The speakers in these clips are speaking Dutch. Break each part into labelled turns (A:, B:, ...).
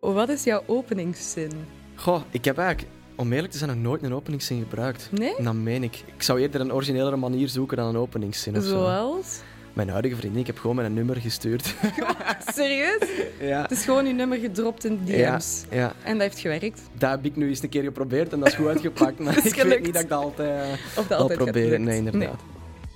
A: Wat is jouw openingszin?
B: Goh, ik heb eigenlijk, om eerlijk te zijn, nog nooit een openingszin gebruikt.
A: Nee?
B: En dat meen ik. Ik zou eerder een originelere manier zoeken dan een openingszin of zo.
A: Zoals?
B: Mijn huidige vriendin, ik heb gewoon mijn nummer gestuurd.
A: Serieus?
B: ja.
A: Het is gewoon je nummer gedropt in
B: Ja,
A: DM's.
B: ja,
A: En dat heeft gewerkt.
B: dat heb ik nu eens een keer geprobeerd en dat is goed uitgepakt. Maar
A: Dat is
B: ik weet
A: gelukt.
B: niet dat ik dat altijd eh,
A: Of dat
B: zal
A: altijd gaat
B: proberen.
A: lukken.
B: Nee, inderdaad.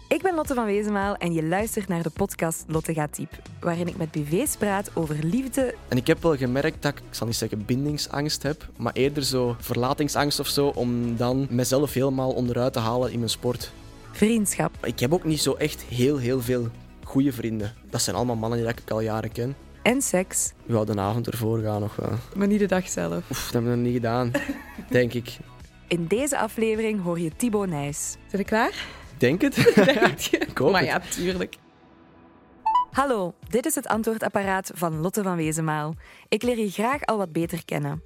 C: Ik ben Lotte van Wezenmaal en je luistert naar de podcast Lotte gaat diep, waarin ik met BV's praat over liefde.
B: En ik heb wel gemerkt dat ik, ik zal niet zeggen bindingsangst heb, maar eerder zo verlatingsangst of zo, om dan mezelf helemaal onderuit te halen in mijn sport.
C: Vriendschap.
B: Ik heb ook niet zo echt heel, heel veel goede vrienden. Dat zijn allemaal mannen die ik al jaren ken.
C: en seks.
B: We hadden de avond ervoor gaan nog wel.
A: Maar niet de dag zelf.
B: Oef, dat hebben we nog niet gedaan, denk ik.
C: In deze aflevering hoor je Thibaut Nijs.
A: Zijn we klaar?
B: Denk het?
A: Denk je?
B: Ik hoop
A: maar
B: het.
A: ja, tuurlijk.
C: Hallo, dit is het antwoordapparaat van Lotte van Wezenmaal. Ik leer je graag al wat beter kennen.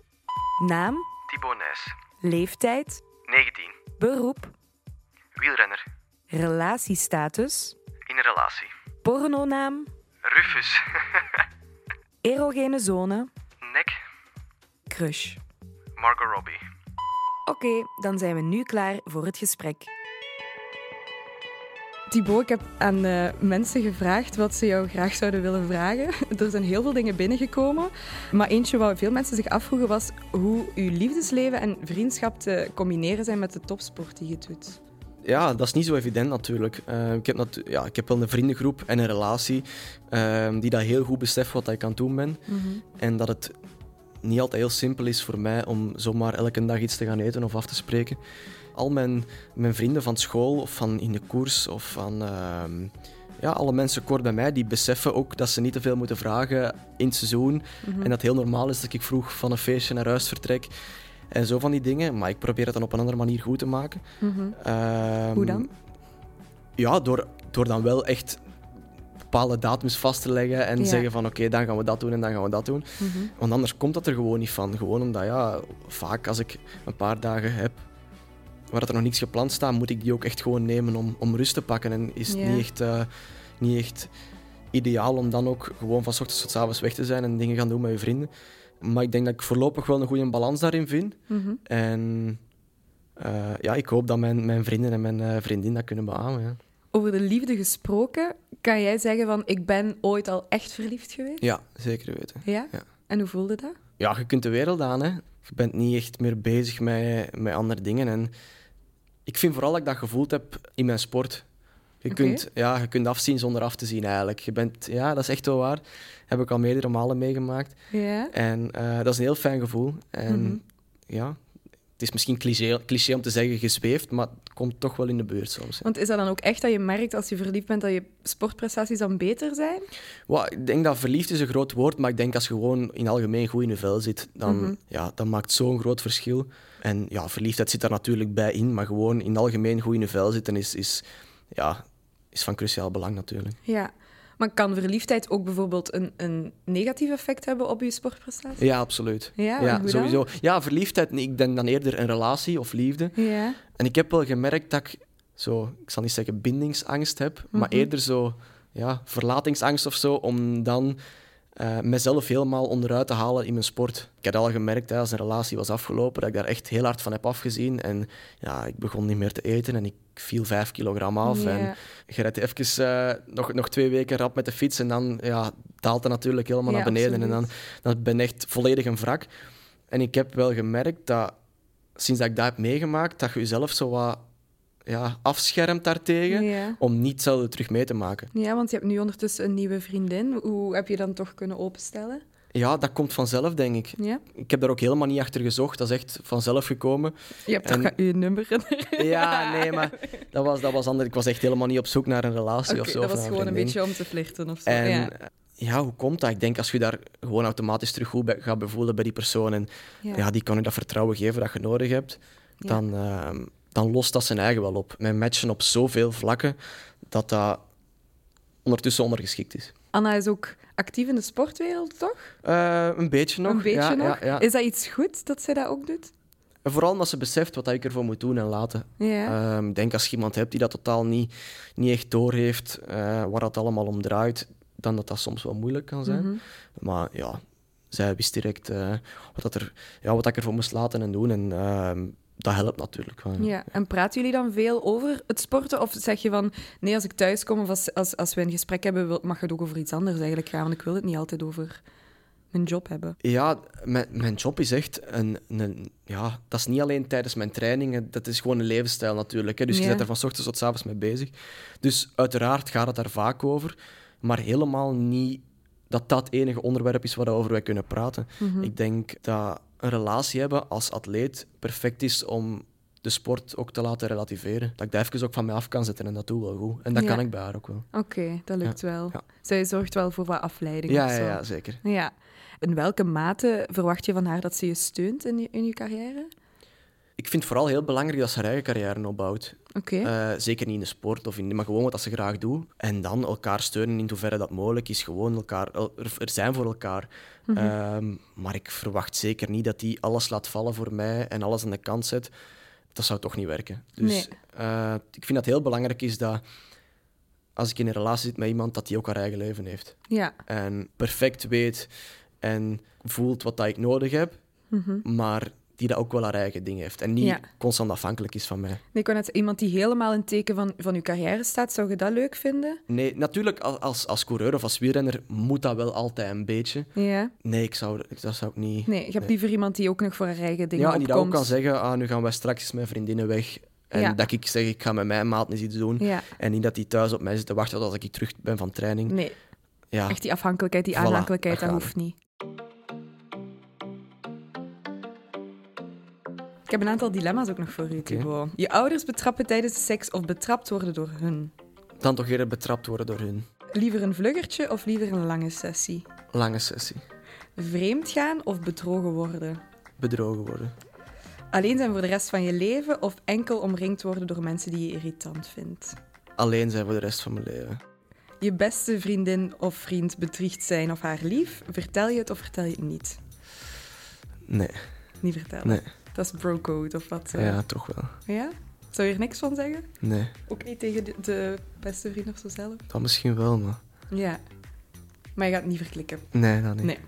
C: Naam,
D: Thibaut Nijs,
C: leeftijd,
D: 19,
C: beroep,
D: wielrenner,
C: relatiestatus,
D: in een relatie.
C: pornonaam,
D: Rufus,
C: erogene zone,
D: nek,
C: crush.
D: Margot Robbie.
C: Oké, dan zijn we nu klaar voor het gesprek.
A: Thibaut, ik heb aan eh, mensen gevraagd wat ze jou graag zouden willen vragen. Er zijn heel veel dingen binnengekomen. Maar eentje waar veel mensen zich afvroegen was hoe uw liefdesleven en vriendschap te combineren zijn met de topsport die je doet.
B: Ja, dat is niet zo evident natuurlijk. Eh, ik, heb natu- ja, ik heb wel een vriendengroep en een relatie eh, die dat heel goed beseft wat ik aan het doen ben. En dat het niet altijd heel simpel is voor mij om zomaar elke dag iets te gaan eten of af te spreken. Al mijn, mijn vrienden van school of van in de koers of van ehm, ja, alle mensen kort bij mij, die beseffen ook dat ze niet te veel moeten vragen in het seizoen. En dat heel normaal is dat ik vroeg van een feestje naar huis vertrek. En zo van die dingen. Maar ik probeer het dan op een andere manier goed te maken. Ehm,
A: Mhm. Hoe dan?
B: Ja, door, door dan wel echt bepaalde datums vast te leggen en
A: Ja. Mhm.
B: zeggen van oké, dan gaan we dat doen en dan gaan we dat doen. Want anders komt dat er gewoon niet van. Gewoon omdat, ja, vaak als ik een paar dagen heb waar dat er nog niks gepland staat, moet ik die ook echt gewoon nemen om, om rust te pakken. En is het
A: Ja.
B: niet, echt, eh, niet echt ideaal om dan ook gewoon van 's ochtends tot 's avonds weg te zijn en dingen gaan doen met je vrienden. Maar ik denk dat ik voorlopig wel een goede balans daarin vind.
A: Mhm.
B: En eh, ja, ik hoop dat mijn, mijn vrienden en mijn eh, vriendin dat kunnen beamen. Ja.
A: Over de liefde gesproken, kan jij zeggen van ik ben ooit al echt verliefd geweest?
B: ja, zeker weten.
A: Ja?
B: Ja.
A: En hoe voelde dat?
B: ja, je kunt de wereld aan. Hè. Je bent niet echt meer bezig met, met andere dingen. En ik vind vooral dat ik dat gevoeld heb in mijn sport. Je,
A: Oké.
B: kunt, ja, je kunt afzien zonder af te zien eigenlijk. Je bent, ja, dat is echt wel waar. Heb ik al meerdere malen meegemaakt.
A: Ja?
B: En eh, dat is een heel fijn gevoel. En
A: Mhm.
B: ja, het is misschien cliché, cliché om te zeggen gezweefd, maar het komt toch wel in de buurt soms. hè.
A: Want is dat dan ook echt dat je merkt als je verliefd bent dat je sportprestaties dan beter zijn?
B: Wel, ik denk dat verliefd is een groot woord, maar ik denk als je gewoon in algemeen goed in je vel zit, dan ja, dat maakt zo'n groot verschil. En ja, verliefdheid zit daar natuurlijk bij in, maar gewoon in algemeen goed in je vel zitten is, is, ja, is van cruciaal belang natuurlijk.
A: Ja. Maar kan verliefdheid ook bijvoorbeeld een, een negatief effect hebben op je sportprestatie?
B: Ja, absoluut.
A: Ja, en hoe dan?
B: sowieso. Ja, verliefdheid, nee, ik denk dan eerder een relatie of liefde.
A: Ja.
B: En ik heb wel gemerkt dat ik zo, ik zal niet zeggen bindingsangst heb, maar eerder zo ja, verlatingsangst of zo, om dan eh, mezelf helemaal onderuit te halen in mijn sport. Ik had al gemerkt, hè, als een relatie was afgelopen, dat ik daar echt heel hard van heb afgezien. En ja, ik begon niet meer te eten en ik viel vijf kilogram af.
A: Ja.
B: En je rijdt even eh, nog, nog twee weken rap met de fiets en dan ja, daalt dat natuurlijk helemaal
A: Ja,
B: naar beneden. En dan,
A: absoluut.
B: dan ben ik echt volledig een wrak. En ik heb wel gemerkt dat sinds dat ik dat heb meegemaakt, dat je jezelf zo wat ja, afschermt daartegen
A: Ja.
B: om niet hetzelfde terug mee te maken.
A: ja, want je hebt nu ondertussen een nieuwe vriendin. Hoe heb je dan toch kunnen openstellen?
B: Ja, dat komt vanzelf, denk ik.
A: Ja?
B: Ik heb daar ook helemaal niet achter gezocht. Dat is echt vanzelf gekomen.
A: Je hebt
B: En-
A: toch je nummer in
B: Ja, nee, maar dat was, dat was anders. Ik was echt helemaal niet op zoek naar een relatie of zo.
A: dat
B: of
A: was
B: naar
A: gewoon een
B: vriendin.
A: beetje om te flirten of zo.
B: En eh,
A: ja.
B: ja. hoe komt dat? Ik denk als je daar gewoon automatisch terug goed bij, gaat bevoelen bij die persoon en
A: Ja.
B: ja. die kan je dat vertrouwen geven dat je nodig hebt,
A: Ja.
B: dan, ehm, dan lost dat zijn eigen wel op. Wij matchen op zoveel vlakken dat dat ondertussen ondergeschikt is.
A: Anna is ook actief in de sportwereld, toch?
B: Eh, een beetje nog.
A: een beetje
B: ja,
A: nog.
B: Ja, ja.
A: Is dat iets goed dat zij dat ook doet?
B: En Vooral omdat ze beseft wat ik ervoor moet doen en laten.
A: Ja.
B: Ehm, ik denk als je iemand hebt die dat totaal niet, niet echt doorheeft eh waar dat allemaal om draait, dan dat dat soms wel moeilijk kan zijn. Maar ja, zij wist direct eh, wat, dat er, ja, wat dat ik ervoor moest laten en doen. En ehm, dat helpt natuurlijk. wel, ja.
A: Ja, en praten jullie dan veel over het sporten? Of zeg je van, nee, als ik thuis kom of als, als, als we een gesprek hebben, wil- mag het ook over iets anders eigenlijk gaan? Want ik wil het niet altijd over mijn job hebben.
B: Ja, mijn, mijn job is echt een, een- Ja, dat is niet alleen tijdens mijn trainingen. Dat is gewoon een levensstijl natuurlijk. Hè. Dus
A: Ja.
B: je bent er van 's ochtends tot 's avonds mee bezig. Dus uiteraard gaat het daar vaak over. Maar helemaal niet dat dat enige onderwerp is waarover wij kunnen praten.
A: Mhm.
B: Ik denk dat een relatie hebben als atleet perfect is om de sport ook te laten relativeren. Dat ik daar even ook van mij af kan zetten en dat doe wel goed. En dat
A: Ja.
B: kan ik bij haar ook wel.
A: Oké, dat lukt wel.
B: ja.
A: Zij zorgt wel voor wat afleiding of
B: Ja, ja,
A: zo.
B: ja, zeker.
A: Ja. In welke mate verwacht je van haar dat ze je steunt in je, in je carrière?
B: Ik vind het vooral heel belangrijk dat ze haar eigen carrière opbouwt.
A: Oké.
B: Eh, zeker niet in de sport, of in, maar gewoon wat dat ze graag doen. En dan elkaar steunen in hoeverre dat mogelijk is. Gewoon elkaar, el- er, er zijn voor elkaar.
A: Mhm.
B: Ehm, maar ik verwacht zeker niet dat die alles laat vallen voor mij en alles aan de kant zet. Dat zou toch niet werken. Dus
A: Nee.
B: eh, ik vind dat heel belangrijk is dat als ik in een relatie zit met iemand, dat die ook haar eigen leven heeft.
A: ja.
B: En perfect weet en voelt wat dat ik nodig heb, maar die dat ook wel haar eigen ding heeft. En niet
A: Mhm. Ja.
B: constant afhankelijk is van mij.
A: Nee, Ik wou net zeggen, iemand die helemaal in het teken van, van je carrière staat, zou je dat leuk vinden?
B: Nee, natuurlijk al- als, als coureur of als wielrenner moet dat wel altijd een beetje.
A: Ja.
B: Nee, ik zou, ik- dat zou ik niet...
A: Nee, je hebt liever iemand die ook nog voor haar eigen dingen
B: ja, en die dat ook
A: opkomt.
B: kan zeggen, ah, nu gaan wij straks eens met vriendinnen weg. En
A: Ja.
B: dat ik zeg, ik ga met mijn maat eens iets doen.
A: Ja.
B: En niet dat die thuis op mij zit te wachten als ik terug ben van training.
A: Nee,
B: Ja.
A: echt die afhankelijkheid, die
B: Voilà,
A: aanhankelijkheid,
B: daar
A: dat
B: gaan
A: hoeft niet. Ik heb een aantal dilemma's ook nog voor u, Thibaut. Je ouders betrappen tijdens seks of betrapt worden door hun?
B: Dan toch eerder betrapt worden door hun
A: Liever een vluggertje of liever een lange sessie?
B: lange sessie.
A: Vreemd gaan of bedrogen worden?
B: Bedrogen worden.
A: Alleen zijn voor de rest van je leven of enkel omringd worden door mensen die je irritant vindt?
B: Alleen zijn voor de rest van mijn leven.
A: Je beste vriendin of vriend bedriegt zijn of haar lief? Vertel je het of vertel je het niet?
B: Nee,
A: Niet vertellen.
B: nee.
A: Dat is brocode of wat? eh.
B: Ja, toch wel.
A: Ja? Zou je er niks van zeggen?
B: Nee.
A: Ook niet tegen de, de beste vriend of zo zelf?
B: Dat misschien wel, maar...
A: Ja. Maar je gaat het niet verklikken.
B: Nee, dat niet.
A: Nee.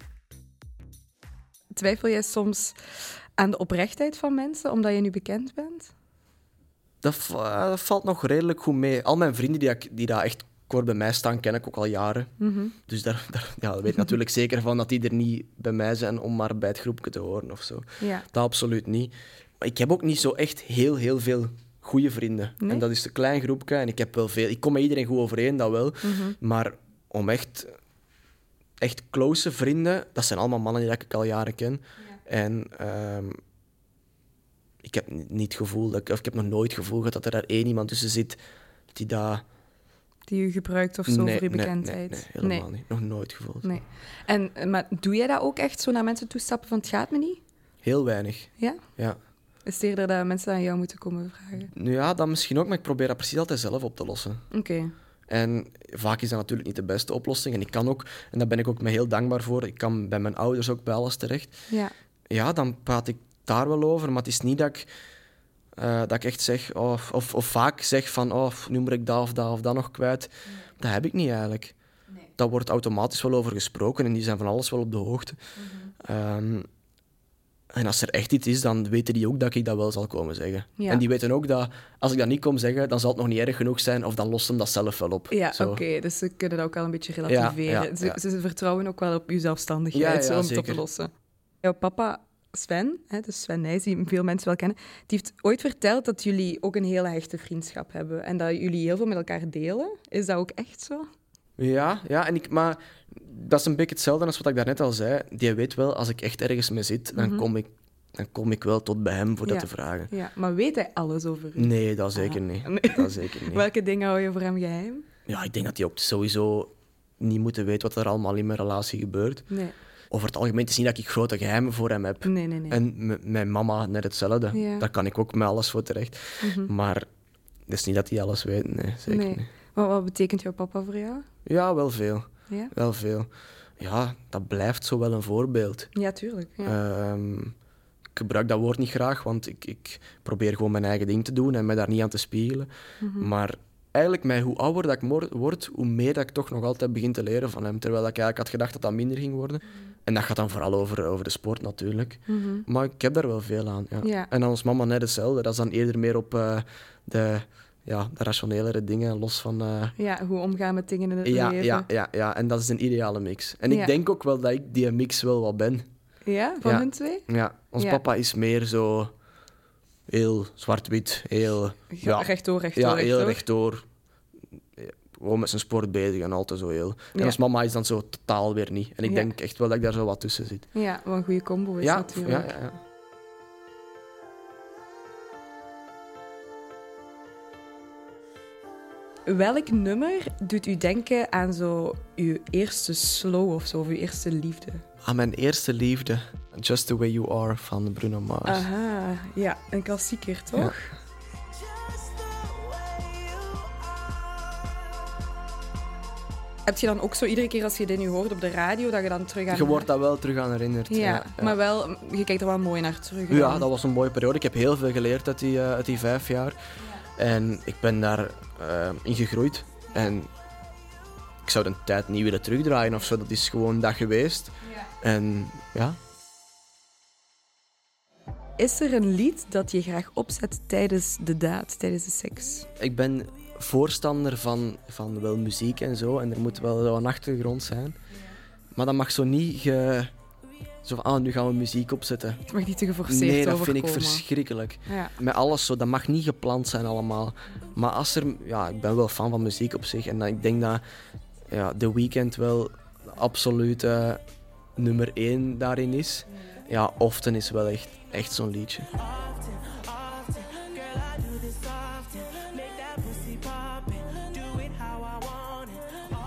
A: Twijfel jij soms aan de oprechtheid van mensen omdat je nu bekend bent?
B: Dat, v- eh, dat valt nog redelijk goed mee. Al mijn vrienden die, ik- die daar echt kort bij mij staan, ken ik ook al jaren.
A: Mhm.
B: Dus daar, daar ja, daar weet ik natuurlijk zeker van dat die er niet bij mij zijn om maar bij het groepje te horen of zo.
A: Ja.
B: Dat absoluut niet. Maar ik heb ook niet zo echt heel, heel veel goede vrienden.
A: Nee?
B: En dat is een klein groepje. En ik heb wel veel... Ik kom met iedereen goed overeen, dat wel.
A: Mhm.
B: Maar om echt... Echt close vrienden, dat zijn allemaal mannen die dat ik al jaren ken. En ehm, ik heb ni- niet het gevoel, dat ik, of ik heb nog nooit het gevoel gehad dat er daar één iemand tussen zit die daar...
A: Die je gebruikt of zo
B: nee,
A: voor je
B: nee, nee,
A: bekendheid?
B: Nee, helemaal niet. Nog nooit gevoeld.
A: Nee. En, eh, maar doe jij dat ook echt zo naar mensen toestappen van het gaat me niet?
B: Heel weinig,
A: Ja?
B: ja.
A: Is het eerder dat mensen aan jou moeten komen vragen?
B: Nu ja, dat misschien ook, maar ik probeer dat precies altijd zelf op te lossen.
A: Oké.
B: En vaak is dat natuurlijk niet de beste oplossing. En ik kan ook, en daar ben ik ook me heel dankbaar voor, ik kan bij mijn ouders ook bij alles terecht.
A: Ja.
B: Ja, dan praat ik daar wel over, maar het is niet dat ik, eh, dat ik echt zeg, oh, of, of vaak zeg van, oh, nu moet ik dat of dat of dat nog kwijt.
A: Mm.
B: Dat heb ik niet eigenlijk. Daar wordt automatisch wel over gesproken en die zijn van alles wel op de hoogte.
A: Mhm.
B: Ehm, en als er echt iets is, dan weten die ook dat ik dat wel zal komen zeggen.
A: Ja.
B: En die weten ook dat als ik dat niet kom zeggen, dan zal het nog niet erg genoeg zijn of dan lost hem dat zelf wel op.
A: Ja, oké.
B: Zo.
A: dus ze kunnen dat ook wel een beetje relativeren.
B: Ja, ja,
A: ze,
B: ja.
A: ze vertrouwen ook wel op uw zelfstandigheid
B: Ja,
A: zo,
B: ja,
A: om het op
B: zeker.
A: te lossen. Jouw papa Sven, hè, dus Sven Nijs, die veel mensen wel kennen, die heeft ooit verteld dat jullie ook een hele hechte vriendschap hebben en dat jullie heel veel met elkaar delen. Is dat ook echt zo?
B: Ja, ja en ik, maar dat is een beetje hetzelfde als wat ik daarnet al zei. Die weet wel, als ik echt ergens mee zit, dan, kom, ik, dan kom ik wel tot bij hem voor
A: Mhm. Ja.
B: dat te vragen.
A: Ja, maar weet hij alles over u?
B: Nee, dat zeker niet.
A: nee.
B: Dat zeker niet.
A: Welke dingen hou je voor hem geheim?
B: Ja, ik denk dat die ook sowieso niet moeten weten wat er allemaal in mijn relatie gebeurt.
A: Nee,
B: Over het algemeen het is niet dat ik grote geheimen voor hem heb.
A: nee, nee. nee.
B: En m- mijn mama net hetzelfde.
A: Ja. Mhm.
B: Daar kan ik ook met alles voor terecht. Maar het is niet dat die alles weet. Nee, zeker
A: nee.
B: niet.
A: Maar wat betekent jouw papa voor jou?
B: Ja, wel veel.
A: Ja,
B: Wel veel. Ja, dat blijft zo wel een voorbeeld.
A: ja tuurlijk. Ja.
B: Ehm, ik gebruik dat
A: Mhm.
B: woord niet graag, want ik, ik probeer gewoon mijn eigen ding te doen en me daar niet aan te spiegelen. Maar eigenlijk met hoe ouder dat ik mor- word, hoe meer dat ik toch nog altijd begin te leren van hem. Terwijl ik eigenlijk had gedacht dat dat minder ging worden.
A: Mhm.
B: En dat gaat dan vooral over, over de sport natuurlijk. Maar ik heb daar wel veel aan. Ja.
A: Ja.
B: En dan is mama net hetzelfde. Dat is dan eerder meer op eh, de, ja, de rationelere dingen, los van... eh,
A: Ja, hoe omgaan met dingen in het
B: ja,
A: leven.
B: ja, ja, ja, en dat is een ideale mix. En
A: Ja.
B: ik denk ook wel dat ik die mix wel wat ben.
A: Ja, van
B: Ja.
A: hun twee?
B: Ja, ons
A: Ja.
B: papa is meer zo heel zwart-wit, heel...
A: Ja, rechtdoor, rechtdoor,
B: ja, heel
A: rechtdoor.
B: rechtdoor. Ja, Gewoon met zijn sport bezig en altijd zo heel. En
A: Ja.
B: als mama is dan zo totaal weer niet. En ik
A: Ja.
B: denk echt wel dat ik daar zo wat tussen zit.
A: Ja, wat een goede combo is
B: Ja, ja,
A: natuurlijk.
B: ja, ja.
A: Welk nummer doet u denken aan zo uw eerste slow of zo, of uw eerste liefde?
B: Aan Ah, mijn eerste liefde, Just The Way You Are van Bruno Mars.
A: Ah, Aha, ja, een klassieker toch?
B: Ja.
A: Heb je dan ook zo iedere keer als je dit nu hoort op de radio, dat je dan terug aan...
B: Je wordt daar wel terug aan herinnerd.
A: ja, maar wel, je kijkt er wel mooi naar terug.
B: Ja,
A: dan.
B: dat was een mooie periode. Ik heb heel veel geleerd uit die, eh, uit die vijf jaar. En ik ben daar eh, in gegroeid. En ik zou de tijd niet willen terugdraaien of zo. Dat is gewoon dat geweest. En ja,
A: Is er een lied dat je graag opzet tijdens de daad, tijdens de seks?
B: ik ben voorstander van, van wel muziek en zo. En er moet wel zo een achtergrond zijn. Maar dat mag zo niet... Ge... Zo van, ah, nu gaan we muziek opzetten.
A: Het mag niet te geforceerd
B: Nee, dat vind
A: overkomen.
B: ik verschrikkelijk.
A: Ja.
B: met alles zo, dat mag niet gepland zijn allemaal. Maar als er, ja, ik ben wel fan van muziek op zich en dan- ik denk dat ja, The Weeknd wel absoluut eh, nummer één daarin is. Ja, Often is wel echt, echt zo'n liedje.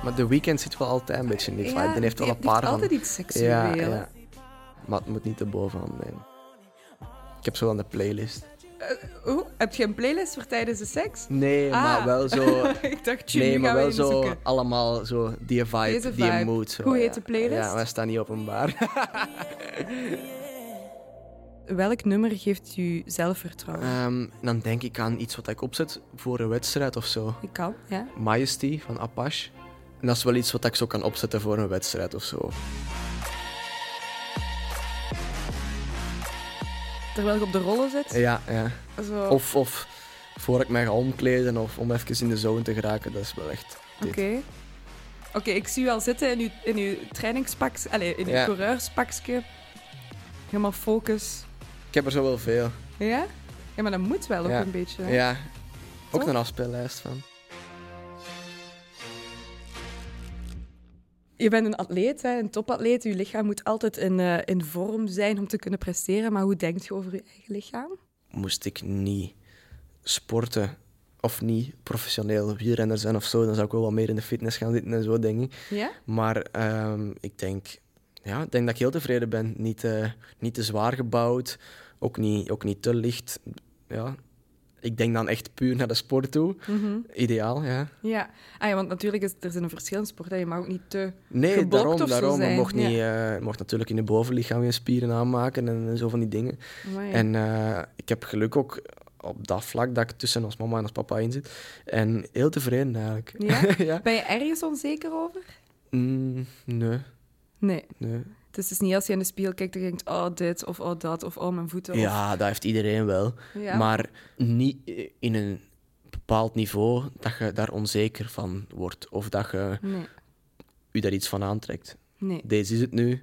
B: Maar The Weeknd zit wel altijd een beetje in die vibe.
A: Ja,
B: die heeft wel
A: die-
B: een
A: die
B: paar
A: heeft
B: van...
A: altijd iets seksueel.
B: Ja, ja. Maar het moet niet te bovenhand nemen. Ik heb zo wel een playlist.
A: Oeh, heb je een playlist voor tijdens de seks?
B: Nee,
A: Ah.
B: maar wel zo.
A: ik dacht, jullie
B: Nee, maar
A: gaan we
B: wel zo
A: inzoeken.
B: allemaal zo die vibe,
A: Deze
B: die
A: vibe.
B: mood. Zo,
A: Hoe heet
B: ja.
A: de playlist?
B: Ja, wij staan niet openbaar.
A: Welk nummer geeft u zelfvertrouwen?
B: Ehm, dan denk ik aan iets wat ik opzet voor een wedstrijd of zo.
A: ik kan, ja.
B: Majesty van Apache. En dat is wel iets wat ik zo kan opzetten voor een wedstrijd of zo.
A: Terwijl ik op de rollen zit.
B: Ja, ja.
A: Zo.
B: Of, of voor ik mij ga omkleden of om even in de zone te geraken. Dat is wel echt.
A: Oké.
B: dit.
A: Oké, ik zie u al zitten in uw, in uw trainingspak, allez, in uw
B: Ja.
A: coureurspakje. Helemaal focus.
B: Ik heb er zo wel veel.
A: Ja? Ja, maar dat moet wel ook
B: Ja.
A: een beetje.
B: Ja.
A: hè?
B: Ook
A: Toch?
B: een afspeellijst van.
A: Je bent een atleet, hè, een topatleet. Je lichaam moet altijd in, eh, in vorm zijn om te kunnen presteren. Maar hoe denkt je over je eigen lichaam?
B: moest ik niet sporten of niet professioneel wielrenner zijn of zo, dan zou ik wel wat meer in de fitness gaan zitten en zo, denk ik.
A: Ja?
B: Maar ehm, ik denk, ja, ik denk dat ik heel tevreden ben. Niet, eh, niet te zwaar gebouwd, ook niet, ook niet te licht. Ja. Ik denk dan echt puur naar de sport toe.
A: Mhm.
B: Ideaal, ja.
A: Ja. Ah, ja, want natuurlijk is er zijn een verschil in sport. hè. Je mag ook niet te...
B: Nee,
A: Geblokt of zo
B: daarom, daarom. Je
A: zijn,
B: mocht,
A: ja.
B: niet, eh, je mocht natuurlijk in je bovenlichaam je spieren aanmaken en, en zo van die dingen.
A: Amai.
B: En eh, ik heb geluk ook op dat vlak dat ik tussen ons mama en ons papa in zit. En heel tevreden eigenlijk.
A: Ja?
B: ja.
A: Ben je ergens onzeker over?
B: Mm, nee,
A: Nee.
B: nee.
A: Dus het is niet als je in de spiegel kijkt en je denkt, oh dit, of oh dat, of oh mijn voeten. of-
B: Ja, dat heeft iedereen wel.
A: Ja.
B: Maar niet eh, in een bepaald niveau dat je daar onzeker van wordt. Of dat je
A: Nee,
B: je daar iets van aantrekt.
A: nee.
B: Deze is het nu.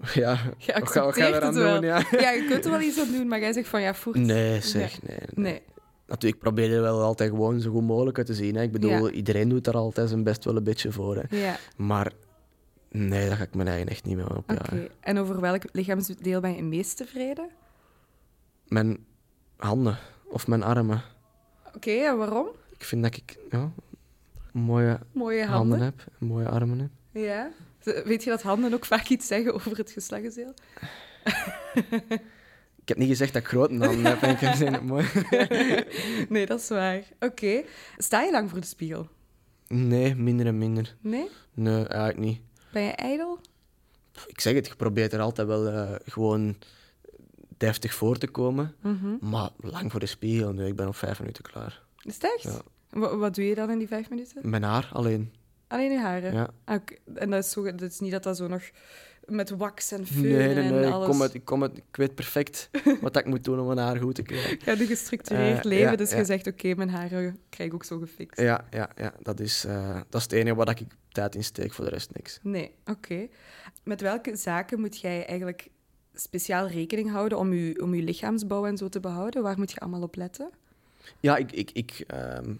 B: Ja,
A: Je
B: wat ga- wat
A: accepteert
B: ga
A: het
B: je eraan
A: wel.
B: doen? Ja.
A: je kunt er wel iets aan doen, maar jij zegt van, ja, voert.
B: Nee, zeg, nee. nee.
A: Nee.
B: Natuurlijk, ik probeer er wel altijd gewoon zo goed mogelijk uit te zien. Hè. Ik bedoel,
A: Ja.
B: iedereen doet daar altijd zijn best wel een beetje voor. Hè.
A: Ja,
B: Maar nee, daar ga ik mijn eigen echt niet meer op.
A: oké.
B: jagen.
A: En over welk lichaamsdeel ben je het meest tevreden?
B: Mijn handen of mijn armen.
A: Oké, en waarom?
B: Ik vind dat ik ja, mooie
A: Mooie
B: handen.
A: handen.
B: heb, mooie armen heb.
A: ja. Z- Weet je dat handen ook vaak iets zeggen over het geslachtsdeel?
B: Ik heb niet gezegd Nou, dat ik grote handen heb. en Ik heb gezegd, mooi.
A: Nee, dat is waar. Oké. Sta je lang voor de spiegel?
B: Nee, minder en minder.
A: Nee?
B: Nee, eigenlijk niet.
A: Ben je ijdel?
B: Pff, Ik zeg het, je probeert er altijd wel eh, gewoon
A: Mhm.
B: deftig voor te komen. Maar lang voor de spiegel. Nee, ik ben op vijf minuten klaar.
A: Is het echt?
B: Ja.
A: Wa- wat doe je dan in die vijf minuten?
B: Mijn haar alleen.
A: Alleen je haren?
B: Ja.
A: Ah, oké. En dat is, zo, dat is niet dat dat zo nog met wax en föhn
B: Nee, nee, nee.
A: en
B: Ik,
A: alles...
B: kom uit, ik, kom uit, ik weet perfect wat ik moet doen om mijn haar goed te krijgen.
A: Ik heb een gestructureerd
B: Eh,
A: leven,
B: ja,
A: dus
B: ja.
A: je zegt, oké, mijn haren krijg ik ook zo gefixt.
B: Ja, ja, ja. Dat, is, eh, dat is het enige waar ik tijd in steek. Voor de rest niks.
A: Nee, oké. Met welke zaken moet jij eigenlijk speciaal rekening houden om je, om je lichaamsbouw en zo te behouden? Waar moet je allemaal op letten?
B: Ja, ik, ik, ik ehm,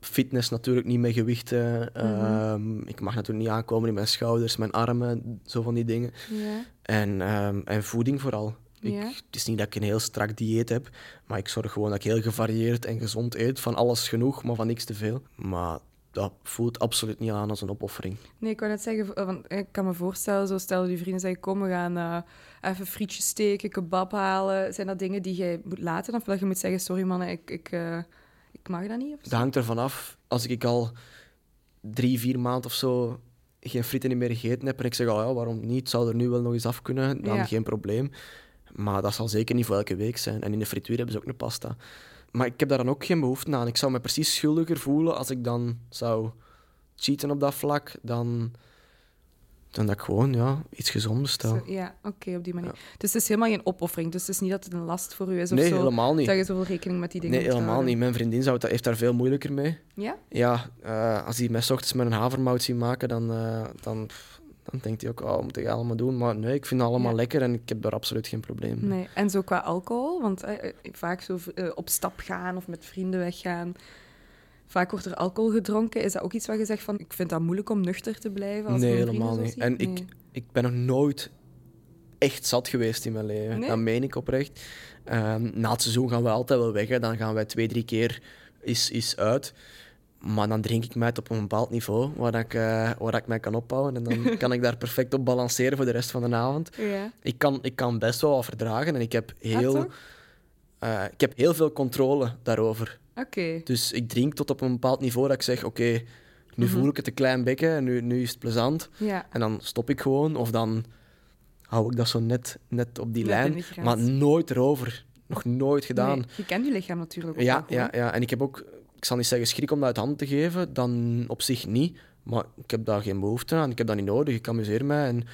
B: fitness natuurlijk niet met gewichten. Ehm, ik mag natuurlijk niet aankomen in mijn schouders, mijn armen, zo van die dingen.
A: Ja.
B: En, ehm, en voeding vooral. Ik,
A: Ja.
B: Het is niet dat ik een heel strak dieet heb, maar ik zorg gewoon dat ik heel gevarieerd en gezond eet. Van alles genoeg, maar van niks te veel. Maar dat voelt absoluut niet aan als een opoffering.
A: Nee, ik wou net zeggen, eh, want ik kan me voorstellen, zo stel dat je vrienden zeggen, kom, we gaan eh, even frietjes steken, kebab halen. Zijn dat dingen die jij moet laten? Of dat je moet zeggen, sorry mannen, ik, ik, eh, ik mag dat niet? Of zo?
B: Dat hangt ervan af. Als ik al drie, vier maanden of zo geen frieten meer gegeten heb en ik zeg, oh ja, waarom niet? Het zou er nu wel nog eens af kunnen, dan
A: Ja.
B: geen probleem. Maar dat zal zeker niet voor elke week zijn. En in de frituur hebben ze ook een pasta. Maar ik heb daar dan ook geen behoefte aan. Ik zou me precies schuldiger voelen als ik dan zou cheaten op dat vlak, dan, dan dat ik gewoon ja, iets gezonds stel.
A: Zo, ja, oké, op die manier. Dus het is helemaal geen opoffering. Dus het is niet dat het een last voor u is of
B: Nee,
A: zo.
B: helemaal niet.
A: Dat je zoveel rekening met die dingen
B: Nee,
A: moet
B: helemaal
A: houden.
B: niet. Mijn vriendin zou, het- heeft daar veel moeilijker mee.
A: Ja?
B: Ja, eh, als hij mij 's ochtends met een havermout ziet maken, dan, eh, dan, pff, dan denkt hij ook, oh, moet ik allemaal doen? Maar nee, ik vind het allemaal
A: Ja.
B: lekker en ik heb daar absoluut geen probleem mee.
A: Nee. En zo qua alcohol, want eh, eh, vaak zo eh, op stap gaan of met vrienden weggaan. Vaak wordt er alcohol gedronken. Is dat ook iets wat je zegt van, ik vind dat moeilijk om nuchter te blijven? Als
B: Nee,
A: ik mijn
B: helemaal
A: vrienden
B: niet.
A: zo
B: En
A: zie?
B: ik,
A: Nee.
B: ik ben nog nooit echt zat geweest in mijn leven.
A: Nee?
B: Dat meen ik oprecht. Ehm, na het seizoen gaan we altijd wel weg. Hè. Dan gaan wij twee, drie keer is, is uit. Maar dan drink ik mij het op een bepaald niveau waar, dat ik, eh, waar dat ik mij kan opbouwen. En dan kan ik daar perfect op balanceren voor de rest van de avond.
A: Ja.
B: Ik kan, ik kan best wel wat verdragen en ik heb heel...
A: Ah, toch?
B: Eh, ik heb heel veel controle daarover.
A: Oké.
B: Dus ik drink tot op een bepaald niveau dat ik zeg: Oké, nu
A: Mhm.
B: voel ik het een klein beetje en nu, nu is het plezant.
A: Ja.
B: En dan stop ik gewoon of dan hou ik dat zo net, net op die
A: Net in de
B: lijn.
A: grens.
B: Maar nooit erover. Nog nooit gedaan.
A: Nee, je kent je lichaam natuurlijk ook
B: ja,
A: wel goed.
B: ja, ja, en ik heb ook, ik zal niet zeggen schrik om dat uit handen te geven, dan op zich niet. Maar ik heb daar geen behoefte aan, ik heb dat niet nodig, ik amuseer mij.
A: Mm.
B: En,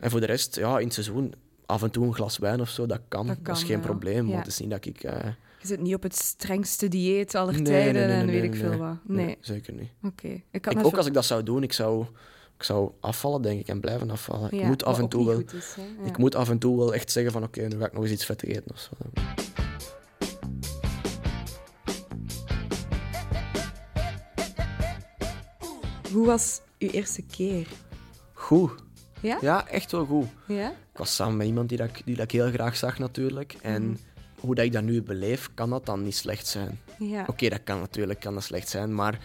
B: en voor de rest, ja, in het seizoen af en toe een glas wijn of zo, dat kan. Dat,
A: Dat
B: is
A: kan,
B: geen
A: ja.
B: probleem,
A: Ja.
B: want het is niet dat ik... eh,
A: Je zit niet op het strengste dieet aller
B: Nee,
A: tijden
B: nee, nee,
A: en
B: nee,
A: weet
B: nee,
A: ik veel
B: nee.
A: wat. Nee,
B: Nee, zeker niet.
A: oké. Ik had
B: Ik,
A: me
B: ook
A: ver-
B: als ik dat zou doen, ik zou, ik zou afvallen, denk ik, en blijven afvallen.
A: Ja,
B: ik moet af
A: wat
B: en
A: ook
B: toe
A: niet
B: wel...
A: goed is, hè. Ja.
B: Ik moet af en toe wel echt zeggen van oké, nu ga ik nog eens iets vet eten of zo.
A: Hoe was je eerste keer?
B: Goed.
A: Ja?
B: Ja, echt wel goed.
A: Ja?
B: Ik was samen met iemand die, dat ik, die dat ik heel graag zag natuurlijk. En
A: Mhm.
B: hoe dat ik dat nu beleef, kan dat dan niet slecht zijn.
A: Ja.
B: Oké, dat kan natuurlijk kan dat slecht zijn, maar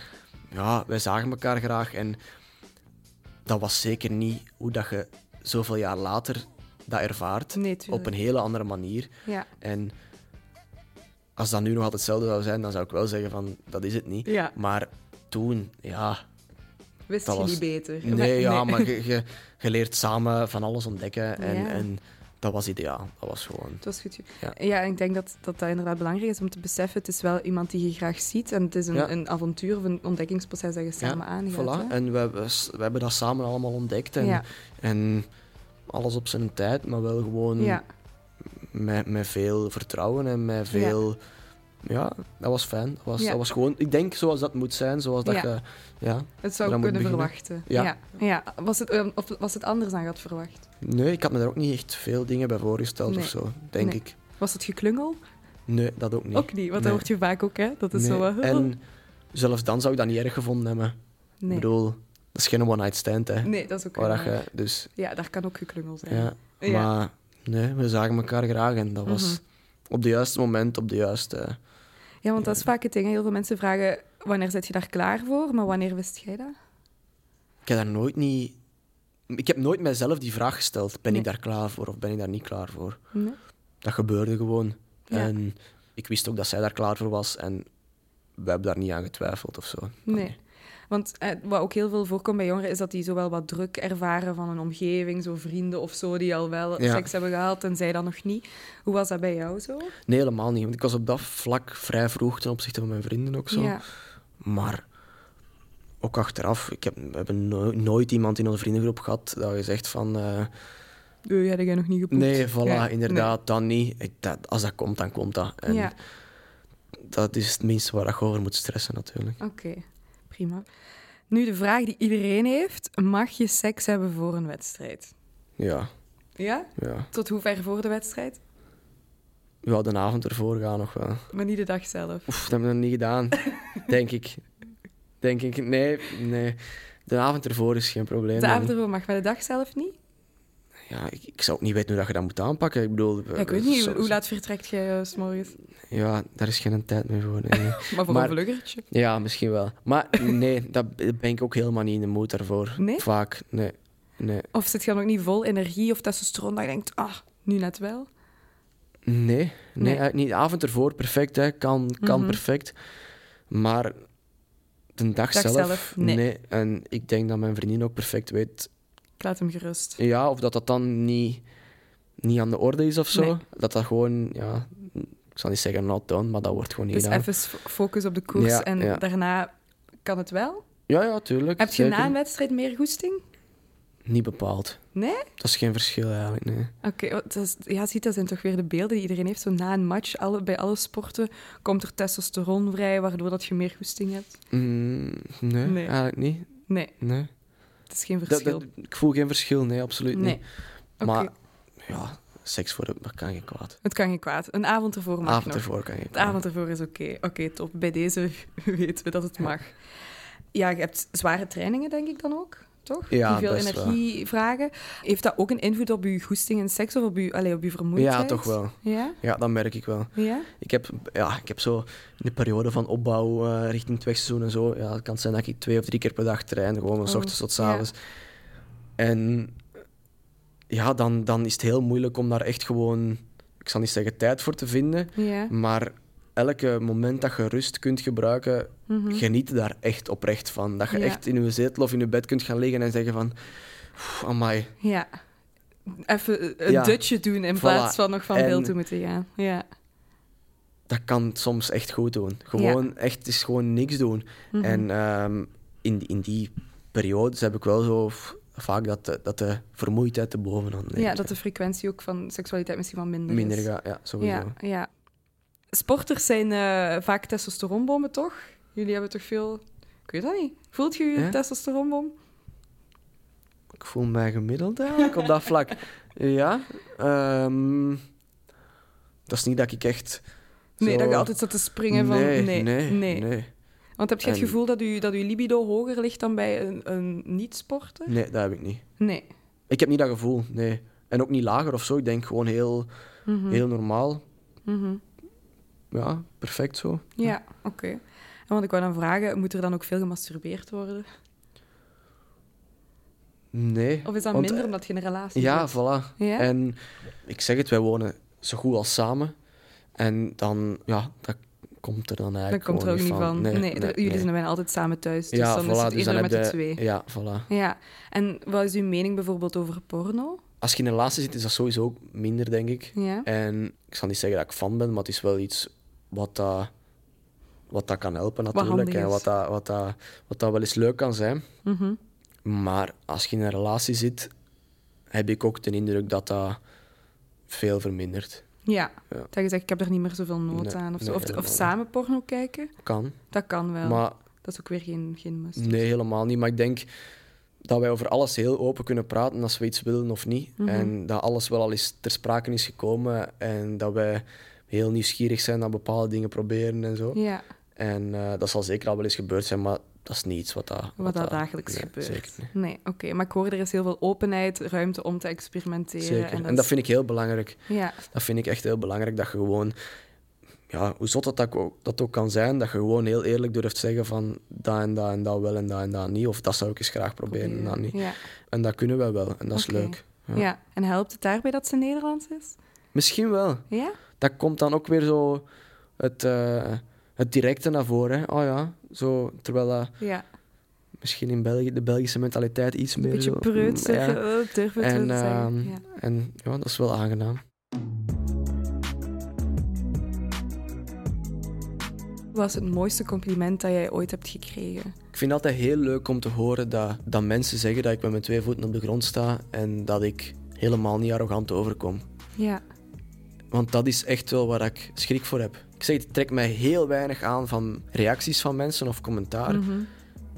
B: ja, wij zagen elkaar graag. En dat was zeker niet hoe dat je zoveel jaar later dat ervaart.
A: Nee, tuurlijk.
B: op een hele andere manier.
A: Ja.
B: En als dat nu nog altijd hetzelfde zou zijn, dan zou ik wel zeggen van, dat is het niet.
A: Ja.
B: Maar toen, ja...
A: Wist
B: dat
A: je
B: was-
A: niet beter?
B: Nee,
A: Maar-
B: ja,
A: nee.
B: maar je, je, je leert samen van alles ontdekken. En,
A: Ja.
B: en dat was ideaal. Dat was gewoon...
A: Het was goed. Ja,
B: Ja.
A: en ik denk dat, dat dat inderdaad belangrijk is om te beseffen. Het is wel iemand die je graag ziet. En het is een,
B: Ja.
A: een avontuur of een ontdekkingsproces dat je samen aangaat.
B: voilà.
A: hè?
B: En we, we, we hebben dat samen allemaal ontdekt. En,
A: Ja.
B: en alles op zijn tijd, maar wel gewoon
A: Ja,
B: met, met veel vertrouwen en met veel... Ja. dat was fijn. Dat was,
A: Ja.
B: dat was gewoon, ik denk zoals dat moet zijn, zoals dat
A: Ja.
B: je... Ja.
A: het zou
B: Dan moet
A: kunnen
B: beginnen.
A: verwachten.
B: Ja.
A: Ja. Ja. Was, het, eh, of was het anders dan je had verwacht?
B: Nee, ik had me daar ook niet echt veel dingen bij voorgesteld
A: Nee.
B: of zo, denk
A: Nee.
B: ik.
A: Was het geklungel?
B: Nee, dat ook niet.
A: Ook niet, want dat
B: Nee.
A: hoort je vaak ook, hè? Dat is
B: Nee.
A: zo wat...
B: En zelfs dan zou ik dat niet erg gevonden hebben.
A: nee.
B: Ik bedoel, dat is geen one-night stand, hè.
A: nee, dat is ook
B: Waar dat
A: waar.
B: je, dus,
A: Ja, daar kan ook geklungel zijn.
B: ja.
A: Ja.
B: Maar nee, we zagen elkaar graag en dat was
A: Mhm.
B: op de juiste moment, op de juiste...
A: Ja, want dat is vaak het ding. hè. Heel veel mensen vragen, wanneer zit je daar klaar voor? Maar wanneer wist jij dat?
B: Ik heb daar nooit niet... Ik heb nooit mijzelf die vraag gesteld, ben
A: Nee.
B: ik daar klaar voor of ben ik daar niet klaar voor?
A: Nee?
B: Dat gebeurde gewoon.
A: Ja.
B: En ik wist ook dat zij daar klaar voor was en we hebben daar niet aan getwijfeld of zo.
A: Nee. Want eh, wat ook heel veel voorkomt bij jongeren is dat die zowel wat druk ervaren van een omgeving, zo vrienden of zo, die al wel
B: Ja.
A: seks hebben gehad en zij dan nog niet. Hoe was dat bij jou zo?
B: Nee, helemaal niet. Want ik was op dat vlak vrij vroeg ten opzichte van mijn vrienden ook zo.
A: Ja.
B: Maar ook achteraf, ik heb, we hebben no- nooit iemand in onze vriendengroep gehad dat gezegd van... eh,
A: Doe jij dat jij nog niet gepoept?
B: nee, voilà,
A: Ja,
B: inderdaad, dan niet. Ik, dat, als dat komt, dan komt dat. En
A: nee. Ja,
B: dat is het minste waar je over moet stressen natuurlijk.
A: oké. Prima. Nu de vraag die iedereen heeft. Mag je seks hebben voor een wedstrijd?
B: Ja,
A: Ja?
B: ja.
A: Tot hoe ver voor de wedstrijd?
B: Ja, de avond ervoor gaan nog wel.
A: Maar niet de dag zelf.
B: Oef, dat hebben we nog niet gedaan. Denk ik. Denk ik. Nee, nee. De avond ervoor is geen probleem.
A: De avond ervoor mag, maar de dag zelf niet?
B: Ja, ik, ik zou ook niet weten hoe dat je dat moet aanpakken. Ik bedoel...
A: Ja, ik weet niet,
B: zo-
A: hoe- hoe laat vertrekt jij eh, s s'morgens?
B: Ja, daar is geen tijd meer voor. nee.
A: Maar voor
B: Maar-
A: een vluggertje.
B: ja, misschien wel. Maar nee, daar ben ik ook helemaal niet in de moed daarvoor.
A: Nee?
B: Vaak, nee. Nee.
A: Of zit je dan ook niet vol energie of testosteron dat je denkt, ah, nu net wel?
B: Nee, nee,
A: Nee.
B: eigenlijk niet. De avond ervoor, perfect, hè. kan, kan
A: Mhm.
B: perfect. Maar de dag,
A: Dag
B: zelf,
A: zelf, nee.
B: En ik denk dat mijn vriendin ook perfect weet,
A: Ik laat hem gerust.
B: ja, of dat dat dan niet, niet aan de orde is of zo.
A: Nee.
B: Dat dat gewoon, ja, ik zal niet zeggen not done, maar dat wordt gewoon niet
A: Dus
B: gedaan.
A: even f- focus op de koers
B: Ja,
A: en
B: ja.
A: daarna kan het wel.
B: Ja, ja, tuurlijk.
A: Heb je
B: zeker.
A: na een wedstrijd meer goesting?
B: Niet bepaald.
A: Nee?
B: Dat is geen verschil eigenlijk, nee.
A: Oké, want dat is- ja, ziet, dat zijn toch weer de beelden die iedereen heeft. Zo na een match, alle, bij alle sporten, komt er testosteron vrij, waardoor dat je meer goesting hebt.
B: Mm, nee,
A: Nee.
B: eigenlijk niet.
A: Nee,
B: Nee.
A: het is geen
B: Dat,
A: verschil.
B: dat, ik voel geen verschil, nee, absoluut
A: nee,
B: niet.
A: oké.
B: Maar ja, seks voor de, dat kan geen kwaad.
A: Het kan geen kwaad. Een avond ervoor mag
B: avond
A: nog.
B: ervoor kan je
A: Het avond ervoor is oké. Oké, top. Bij deze weten we dat het mag. Ja, je hebt zware trainingen, denk ik dan ook, toch?
B: Ja,
A: Die veel
B: best
A: energie vragen. Heeft dat ook een invloed op je goesting en seks of op je, allee, op je vermoeidheid?
B: Ja, toch wel.
A: Ja?
B: Ja, dat merk ik wel.
A: Ja?
B: Ik heb, ja, ik heb zo de periode van opbouw eh, richting het wegseizoen en zo. Ja, het kan zijn dat ik twee of drie keer per dag train, gewoon van s
A: Oh,
B: ochtends tot s
A: ja.
B: avonds. En ja, dan, dan is het heel moeilijk om daar echt gewoon, ik zal niet zeggen tijd voor te vinden,
A: Ja.
B: maar elke moment dat je rust kunt gebruiken,
A: Mhm.
B: geniet daar echt oprecht van. Dat je
A: Ja.
B: echt in je zetel of in je bed kunt gaan liggen en zeggen van, "Oef, amai,
A: ja. Even een
B: Ja.
A: dutje doen in
B: Voilà.
A: plaats van nog van
B: En-
A: beeld te moeten gaan. Ja.
B: dat kan soms echt goed doen. Gewoon, echt, het is gewoon niks doen.
A: Mhm.
B: En ehm, in, in die periodes heb ik wel zo v- vaak dat de, dat de vermoeidheid de bovenhand neemt.
A: ja, dat de frequentie ook van seksualiteit misschien wel minder,
B: minder
A: is.
B: gaat. Ja, sowieso.
A: Ja, ja. Sporters zijn eh, vaak testosteronbommen, toch? Jullie hebben toch veel... Ik weet dat niet. Voelt je je
B: Ja?
A: testosteronbom?
B: Ik voel mij gemiddeld eigenlijk op dat vlak. Ja. ehm, dat is niet dat ik echt...
A: Nee,
B: zo-
A: dat je altijd zat te springen van... Nee, nee,
B: nee, nee.
A: Want heb je het
B: En-
A: gevoel dat je, dat je libido hoger ligt dan bij een, een niet-sporter?
B: Nee, dat heb ik niet.
A: Nee.
B: Ik heb niet dat gevoel, nee. En ook niet lager of zo. Ik denk gewoon heel,
A: Mhm,
B: heel normaal.
A: mhm.
B: Ja, perfect zo.
A: Ja, oké. En Want ik wou dan vragen, moet er dan ook veel gemasturbeerd worden?
B: Nee.
A: Of is dat
B: Want, eh,
A: minder omdat je een relatie
B: Ja,
A: hebt?
B: voilà.
A: Ja?
B: En ik zeg het, wij wonen zo goed als samen. En dan, ja, dat komt er dan
A: Dan
B: eigenlijk
A: komt er
B: gewoon
A: ook niet van. Nee,
B: Nee,
A: er-
B: nee,
A: jullie
B: nee.
A: zijn bijna altijd samen thuis, dus
B: ja,
A: dan
B: voilà,
A: is het
B: dus
A: eerder
B: dan
A: met de
B: heb je-
A: twee.
B: Ja, voilà.
A: Ja. En wat is uw mening bijvoorbeeld over porno?
B: Als je in een relatie zit, is dat sowieso ook minder, denk ik.
A: Ja.
B: En ik zal niet zeggen dat ik fan ben, maar het is wel iets wat dat, wat dat kan helpen natuurlijk.
A: handig
B: en
A: is.
B: wat dat, wat, dat, wat dat wel eens leuk kan zijn.
A: Mhm.
B: Maar als je in een relatie zit, heb ik ook de indruk dat dat veel vermindert.
A: Ja.
B: Ja.
A: Dat je zegt, ik heb er niet meer zoveel nood
B: Nee,
A: aan. Of, zo.
B: nee,
A: of, of
B: helemaal
A: samen porno kijken,
B: Kan.
A: dat kan wel.
B: Maar
A: Dat is ook weer geen, geen must.
B: Nee, helemaal niet. Maar ik denk dat wij over alles heel open kunnen praten als we iets willen of niet.
A: Mhm.
B: En dat alles wel al eens ter sprake is gekomen. En dat wij heel nieuwsgierig zijn naar bepaalde dingen proberen en zo.
A: Ja,
B: En eh, dat zal zeker al wel eens gebeurd zijn, maar dat is niet iets wat dat...
A: wat dat dagelijks
B: nee,
A: gebeurt.
B: Zeker niet.
A: Nee, oké. Maar ik hoor, er is heel veel openheid, ruimte om te experimenteren.
B: Zeker. En dat,
A: is-
B: vind ik heel belangrijk.
A: Ja,
B: Dat vind ik echt heel belangrijk, dat je gewoon... Ja, hoe zot dat, dat, ook, dat ook kan zijn, dat je gewoon heel eerlijk durft zeggen van dat en dat en dat wel en dat en dat niet. Of dat zou ik eens graag proberen, en dat niet.
A: Ja.
B: En dat kunnen wij wel. En dat is
A: Oké.
B: leuk.
A: Ja.
B: Ja.
A: en helpt het daarbij dat ze Nederlands is?
B: Misschien wel.
A: Ja?
B: Dat komt dan ook weer zo het, eh, het directe naar voren. Hè. Oh ja, zo, terwijl dat
A: Ja.
B: misschien in België de Belgische mentaliteit iets
A: Een
B: meer
A: beetje
B: zo-
A: preutser,
B: Ja.
A: eh, durf het wel
B: En,
A: te
B: ehm,
A: zeggen. Ja.
B: En ja, dat is wel aangenaam.
A: Wat is het mooiste compliment dat jij ooit hebt gekregen?
B: Ik vind het altijd heel leuk om te horen dat, dat mensen zeggen dat ik met mijn twee voeten op de grond sta en dat ik helemaal niet arrogant overkom.
A: Ja.
B: Want dat is echt wel waar ik schrik voor heb. Ik zeg, het trekt mij heel weinig aan van reacties van mensen of commentaar.
A: Mhm.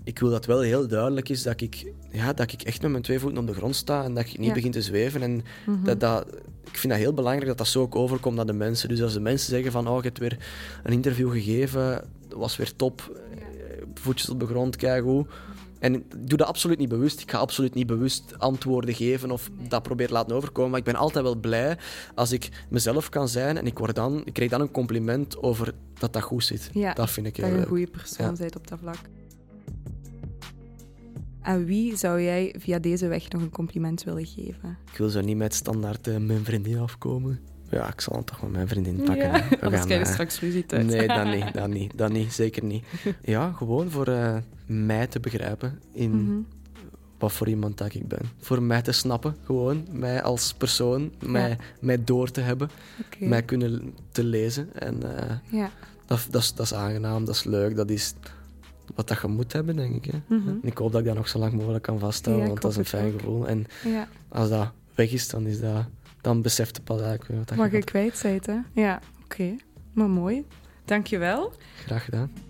B: Ik wil dat wel heel duidelijk is dat ik, ja, dat ik echt met mijn twee voeten op de grond sta en dat ik niet
A: Ja. Mhm.
B: begin te zweven. En dat, dat, ik vind dat heel belangrijk dat dat zo ook overkomt aan de mensen. Dus als de mensen zeggen van, oh, je hebt weer een interview gegeven, dat was weer top, eh, voetjes op de grond, kijk hoe. En ik doe dat absoluut niet bewust. Ik ga absoluut niet bewust antwoorden geven of dat probeer te laten overkomen. Maar ik ben altijd wel blij als ik mezelf kan zijn en ik, word dan, ik krijg dan een compliment over dat dat goed zit.
A: Ja,
B: dat vind ik eh, heel
A: dat je een
B: leuk.
A: goede persoon
B: Ja.
A: bent op dat vlak. Aan wie zou jij via deze weg nog een compliment willen geven?
B: Ik wil zo niet met standaard eh, mijn vriendin afkomen. Ja, ik zal dan toch met mijn vriendin pakken. hè. We gaan, eh,
A: straks ruzie
B: Nee, dat niet, dat niet, dat niet, zeker niet. Ja, gewoon voor eh, mij te begrijpen in
A: Mhm.
B: wat voor iemand dat ik ben. Voor mij te snappen, gewoon. Mij als persoon, mij, mij door te hebben,
A: Oké.
B: mij kunnen te lezen. En eh,
A: Ja.
B: dat, dat, is, dat is aangenaam, dat is leuk, dat is wat dat je moet hebben, denk ik. Hè?
A: Mhm.
B: En ik hoop dat ik dat nog zo lang mogelijk kan vasthouden,
A: Ja, ik
B: want dat is een
A: hoop het
B: fijn
A: ook.
B: gevoel. En
A: ja.
B: als dat weg is, dan, is dat, dan beseft je pas eigenlijk wat dat je
A: Mag ik
B: hebt
A: kwijt zijn, hè? Ja, oké. Maar mooi. Dankjewel.
B: graag gedaan.